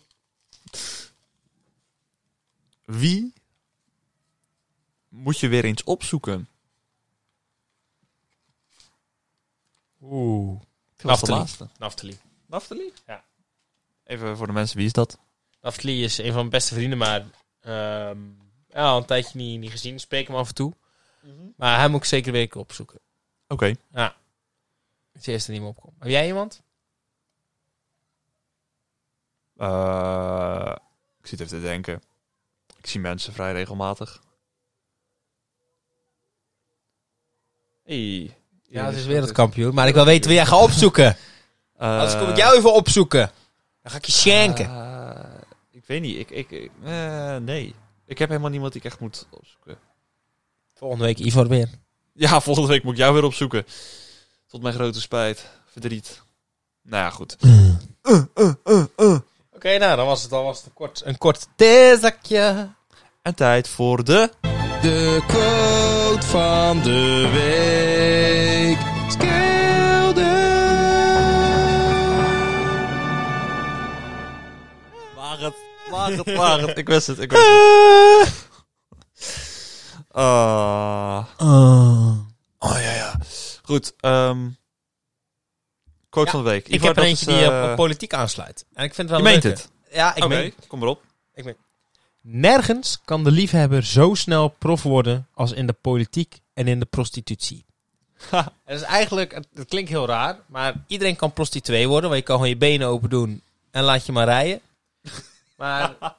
Speaker 2: Wie moet je weer eens opzoeken?
Speaker 1: Oeh.
Speaker 2: Dat was de
Speaker 1: Naftali.
Speaker 2: laatste.
Speaker 1: Naftali.
Speaker 2: Naftali?
Speaker 1: Ja.
Speaker 2: Even voor de mensen, wie is dat?
Speaker 1: Naftali is een van mijn beste vrienden, maar ehm, ja, al een tijdje niet, niet gezien. Spreek hem af en toe. Maar hij moet ik zeker weer een keer opzoeken.
Speaker 2: Oké.
Speaker 1: Het is eerste niet meer opkomt. Heb jij iemand?
Speaker 2: Eh, ik zit even te denken. Ik zie mensen vrij regelmatig. Hey.
Speaker 1: Ja, het is wereldkampioen. Maar ik wil weten wie jij gaat opzoeken. Anders kom ik jou even opzoeken. Dan ga ik je schenken.
Speaker 2: Eh, ik weet niet. Ik, ik, ik- eh, nee. Ik heb helemaal niemand die ik echt moet opzoeken.
Speaker 1: Volgende week Ivor weer.
Speaker 2: Ja, [LAUGHS] volgende week moet ik jou weer opzoeken. Tot mijn grote spijt. Verdriet. Nou ja, goed.
Speaker 1: Oké, nou, dan was het al was het een kort, een kort theezakje.
Speaker 2: En tijd voor de...
Speaker 1: De quote van de week.
Speaker 2: Waag het. Waag het, waag het. [LAUGHS] Ik wist het, ik wist het. Ah. Oh ja, ja. Goed. ehm quote
Speaker 1: Ja,
Speaker 2: van de week.
Speaker 1: Ik heb er eentje die op, op
Speaker 2: eh, op
Speaker 1: politiek aansluit. En ik vind het
Speaker 2: Je
Speaker 1: wel
Speaker 2: meent
Speaker 1: leuk.
Speaker 2: het.
Speaker 1: Ja, ik
Speaker 2: Oké,
Speaker 1: meen
Speaker 2: kom maar op.
Speaker 1: Nergens kan de liefhebber zo snel prof worden als in de politiek en in de prostitutie.
Speaker 2: Ha.
Speaker 1: [LAUGHS] Het is eigenlijk, het, het klinkt heel raar, maar iedereen kan prostituee worden, want je kan gewoon je benen open doen en laat je maar
Speaker 2: [LAUGHS]
Speaker 1: rijden. Maar
Speaker 2: [LAUGHS]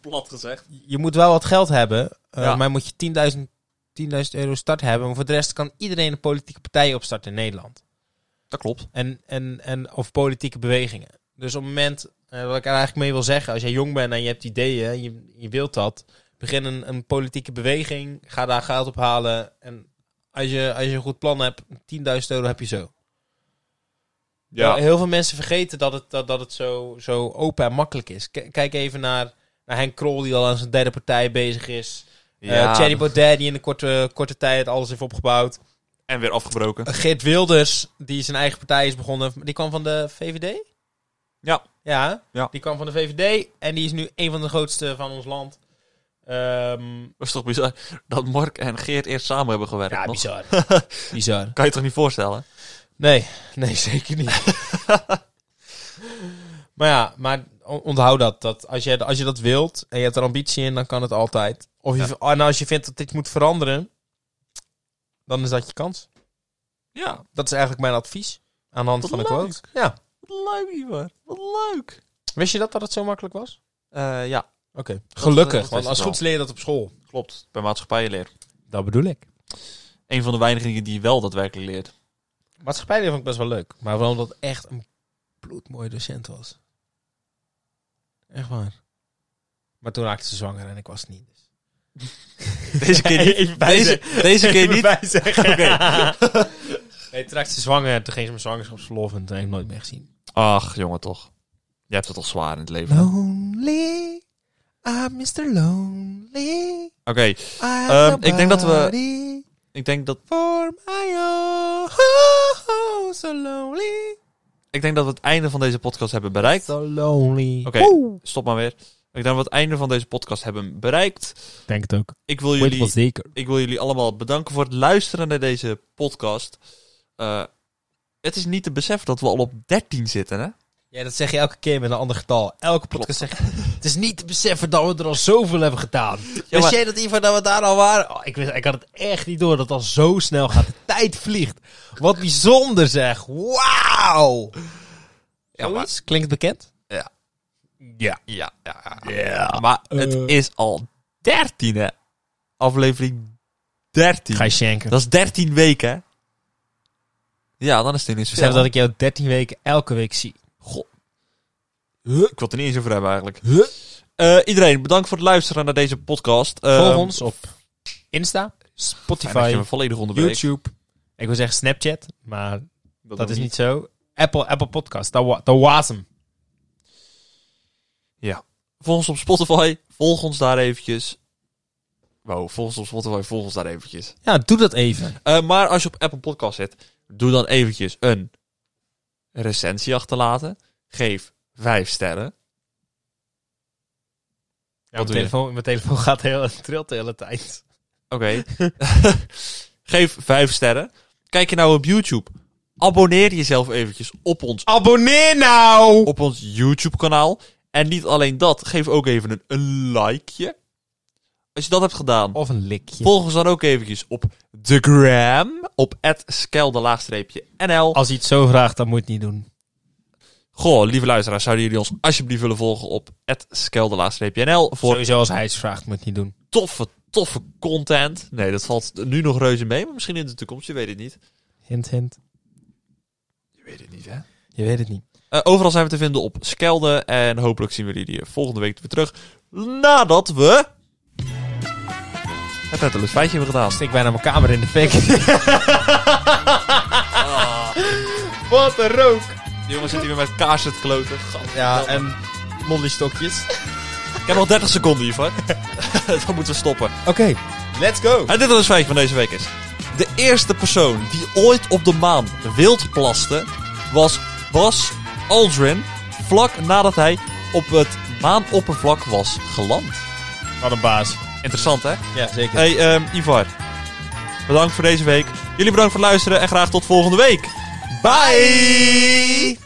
Speaker 2: Plat gezegd.
Speaker 1: je moet wel wat geld hebben, eh,
Speaker 2: Ja.
Speaker 1: maar moet je 10.000 10.000 euro start hebben. Maar voor de rest kan iedereen een politieke partij opstarten in Nederland.
Speaker 2: Dat klopt.
Speaker 1: En, en, en, of politieke bewegingen. Dus op het moment, eh, wat ik er eigenlijk mee wil zeggen, als jij jong bent en je hebt ideeën, en je, je wilt dat, begin een, een politieke beweging, ga daar geld op halen. En als je, als je een goed plan hebt, 10.000 euro heb je zo.
Speaker 2: Ja.
Speaker 1: Heel veel mensen vergeten dat het, dat, dat het zo, zo open en makkelijk is. K- kijk even naar, naar Henk Krol, die al aan zijn derde partij bezig is. Eh
Speaker 2: Ja.
Speaker 1: Thierry Baudet, die in de korte, korte tijd alles heeft opgebouwd.
Speaker 2: En weer afgebroken.
Speaker 1: Eh, Geert Wilders, die zijn eigen partij is begonnen. Die kwam van de VVD?
Speaker 2: Ja.
Speaker 1: Ja,
Speaker 2: Ja.
Speaker 1: die kwam van de VVD. En die is nu een van de grootste van ons land. Ehm,
Speaker 2: Dat is toch bizar dat Mark en Geert eerst samen hebben gewerkt.
Speaker 1: ja,
Speaker 2: nog? [LAUGHS]
Speaker 1: bizar. bizar.
Speaker 2: Kan je toch niet voorstellen?
Speaker 1: Nee, nee, zeker
Speaker 2: [LAUGHS]
Speaker 1: niet. maar ja, maar on- onthoud dat. dat als, je, als je dat wilt en je hebt er ambitie in, dan kan het altijd. Of je, En als je vindt dat dit moet veranderen, dan is dat je kans.
Speaker 2: Ja,
Speaker 1: Dat is eigenlijk mijn advies aan de hand
Speaker 2: Wat
Speaker 1: van de
Speaker 2: leuk.
Speaker 1: quote. Ja.
Speaker 2: wat leuk, Ivar. Wat leuk. Eh,
Speaker 1: Wist je dat dat het zo makkelijk was?
Speaker 2: ja,
Speaker 1: Oké. Gelukkig,
Speaker 2: dat wist
Speaker 1: want
Speaker 2: ik
Speaker 1: als
Speaker 2: wel.
Speaker 1: goed leer je dat op school.
Speaker 2: klopt. Bij maatschappijleer.
Speaker 1: Dat bedoel ik.
Speaker 2: Een van de weinige dingen die je wel daadwerkelijk leert.
Speaker 1: Maatschappijleer vond ik best wel leuk. Maar vooral omdat het echt een bloedmooie docent was. Echt waar. Maar toen raakte ze zwanger en ik was het niet. [LAUGHS] Dus.
Speaker 2: Deze keer niet.
Speaker 1: Even
Speaker 2: Deze, deze keer niet.
Speaker 1: [LAUGHS] zeggen. nee, toen raakte ze zwanger en toen ging ze mijn zwangerschapsverlof en toen heb ik nooit meer gezien.
Speaker 2: Ach, jongen, toch. Je hebt het toch zwaar in het leven.
Speaker 1: Nou.
Speaker 2: hè?
Speaker 1: Lonely, I'm Mr. Lonely.
Speaker 2: Oké, Ehm, ik denk dat we- ik denk dat
Speaker 1: For my own, so lonely.
Speaker 2: ik denk dat we het einde van deze podcast hebben bereikt.
Speaker 1: So lonely.
Speaker 2: Oké, stop maar weer. Ik denk dat we het einde van deze podcast hebben bereikt.
Speaker 1: Denk het ook.
Speaker 2: Ik wil
Speaker 1: Weet wel
Speaker 2: jullie
Speaker 1: zeker.
Speaker 2: Ik wil jullie allemaal bedanken voor het luisteren naar deze podcast. Eh, het is niet te beseffen dat we al op 13 zitten, hè?
Speaker 1: Ja, dat zeg je elke keer met een ander getal. Elke podcast zeg je, het is niet te beseffen dat we er al zoveel hebben gedaan.
Speaker 2: maar-
Speaker 1: Wist jij dat, Ivo, dat we daar al waren? Oh, ik, wist, ik had het echt niet door dat het al zo snel gaat. De tijd vliegt. Wat bijzonder zeg. Wauw.
Speaker 2: Ja, maar-
Speaker 1: Zoiets? Klinkt bekend?
Speaker 2: Ja.
Speaker 1: Ja.
Speaker 2: Ja, ja, ja.
Speaker 1: Ja.
Speaker 2: Maar het
Speaker 1: Eh.
Speaker 2: is al 13, hè? Aflevering 13.
Speaker 1: Ga je schenken.
Speaker 2: Dat is 13 weken, hè? Ja, dan is het ineens
Speaker 1: Besef
Speaker 2: veel.
Speaker 1: dat ik jou 13 weken elke week zie.
Speaker 2: Goh. Ik wil het er niet eens over hebben, eigenlijk. Eh, iedereen, bedankt voor het luisteren naar deze podcast. Eh,
Speaker 1: Volg ons op Insta,
Speaker 2: fijn dat je
Speaker 1: Spotify,
Speaker 2: me volledig onderbreekt.
Speaker 1: YouTube. Ik wil zeggen Snapchat, maar dat
Speaker 2: Dat, doe
Speaker 1: is
Speaker 2: ik
Speaker 1: niet zo. Apple, Apple Podcast, dat, wa- dat was hem.
Speaker 2: Volg ons op Spotify. Volg ons daar eventjes. Wow, volg ons op Spotify. Volg ons daar eventjes.
Speaker 1: Ja, doe dat even.
Speaker 2: Eh, maar als je op Apple Podcast zit, doe dan eventjes een recensie achterlaten. Geef vijf sterren.
Speaker 1: Ja, mijn,
Speaker 2: Wat doe je?
Speaker 1: telefoon, mijn telefoon [LAUGHS] gaat heel, trilt de hele tijd.
Speaker 2: [LAUGHS] Oké. Geef vijf sterren. Kijk je nou op YouTube. Abonneer jezelf eventjes op ons,
Speaker 1: Abonneer nou!
Speaker 2: op ons YouTube kanaal. En niet alleen dat, geef ook even een, een likeje. Als je dat hebt gedaan,
Speaker 1: Of een likje.
Speaker 2: volg ons dan ook eventjes op de gram. Op @skel_nl.
Speaker 1: Als hij het zo vraagt, dan moet je het niet doen.
Speaker 2: Goh, lieve luisteraars, zouden jullie ons alsjeblieft willen volgen op @skel_nl voor
Speaker 1: Sowieso als hij het vraagt, moet je het niet doen.
Speaker 2: toffe, toffe content. Nee, dat valt nu nog reuze mee, maar misschien in de toekomst, je weet het niet.
Speaker 1: Hint, hint.
Speaker 2: Je weet het niet, hè?
Speaker 1: Je weet het niet.
Speaker 2: Eh, overal zijn we te vinden op Skelde. En hopelijk zien we jullie hier volgende week weer terug. Nadat we... Het net een leuk feitje hebben gedaan.
Speaker 1: Steek bijna mijn kamer in de
Speaker 2: [LAUGHS]
Speaker 1: fik.
Speaker 2: Wat een rook! Die jongen zit hier weer met kaarsen te kloten. Gadverdamme.
Speaker 1: en stokjes.
Speaker 2: Ik heb nog 30 seconden hiervoor. [LAUGHS] Dan moeten we stoppen.
Speaker 1: Oké, let's go.
Speaker 2: En dit was het feitje van deze week is. De eerste persoon die ooit op de maan wild plaste was Bas Aldrin vlak nadat hij op het maanoppervlak was geland.
Speaker 1: Wat een baas.
Speaker 2: Interessant hè?
Speaker 1: Ja, zeker.
Speaker 2: Hey ehm, Ivar, bedankt voor deze week. Jullie bedankt voor het luisteren en graag tot volgende week. Bye!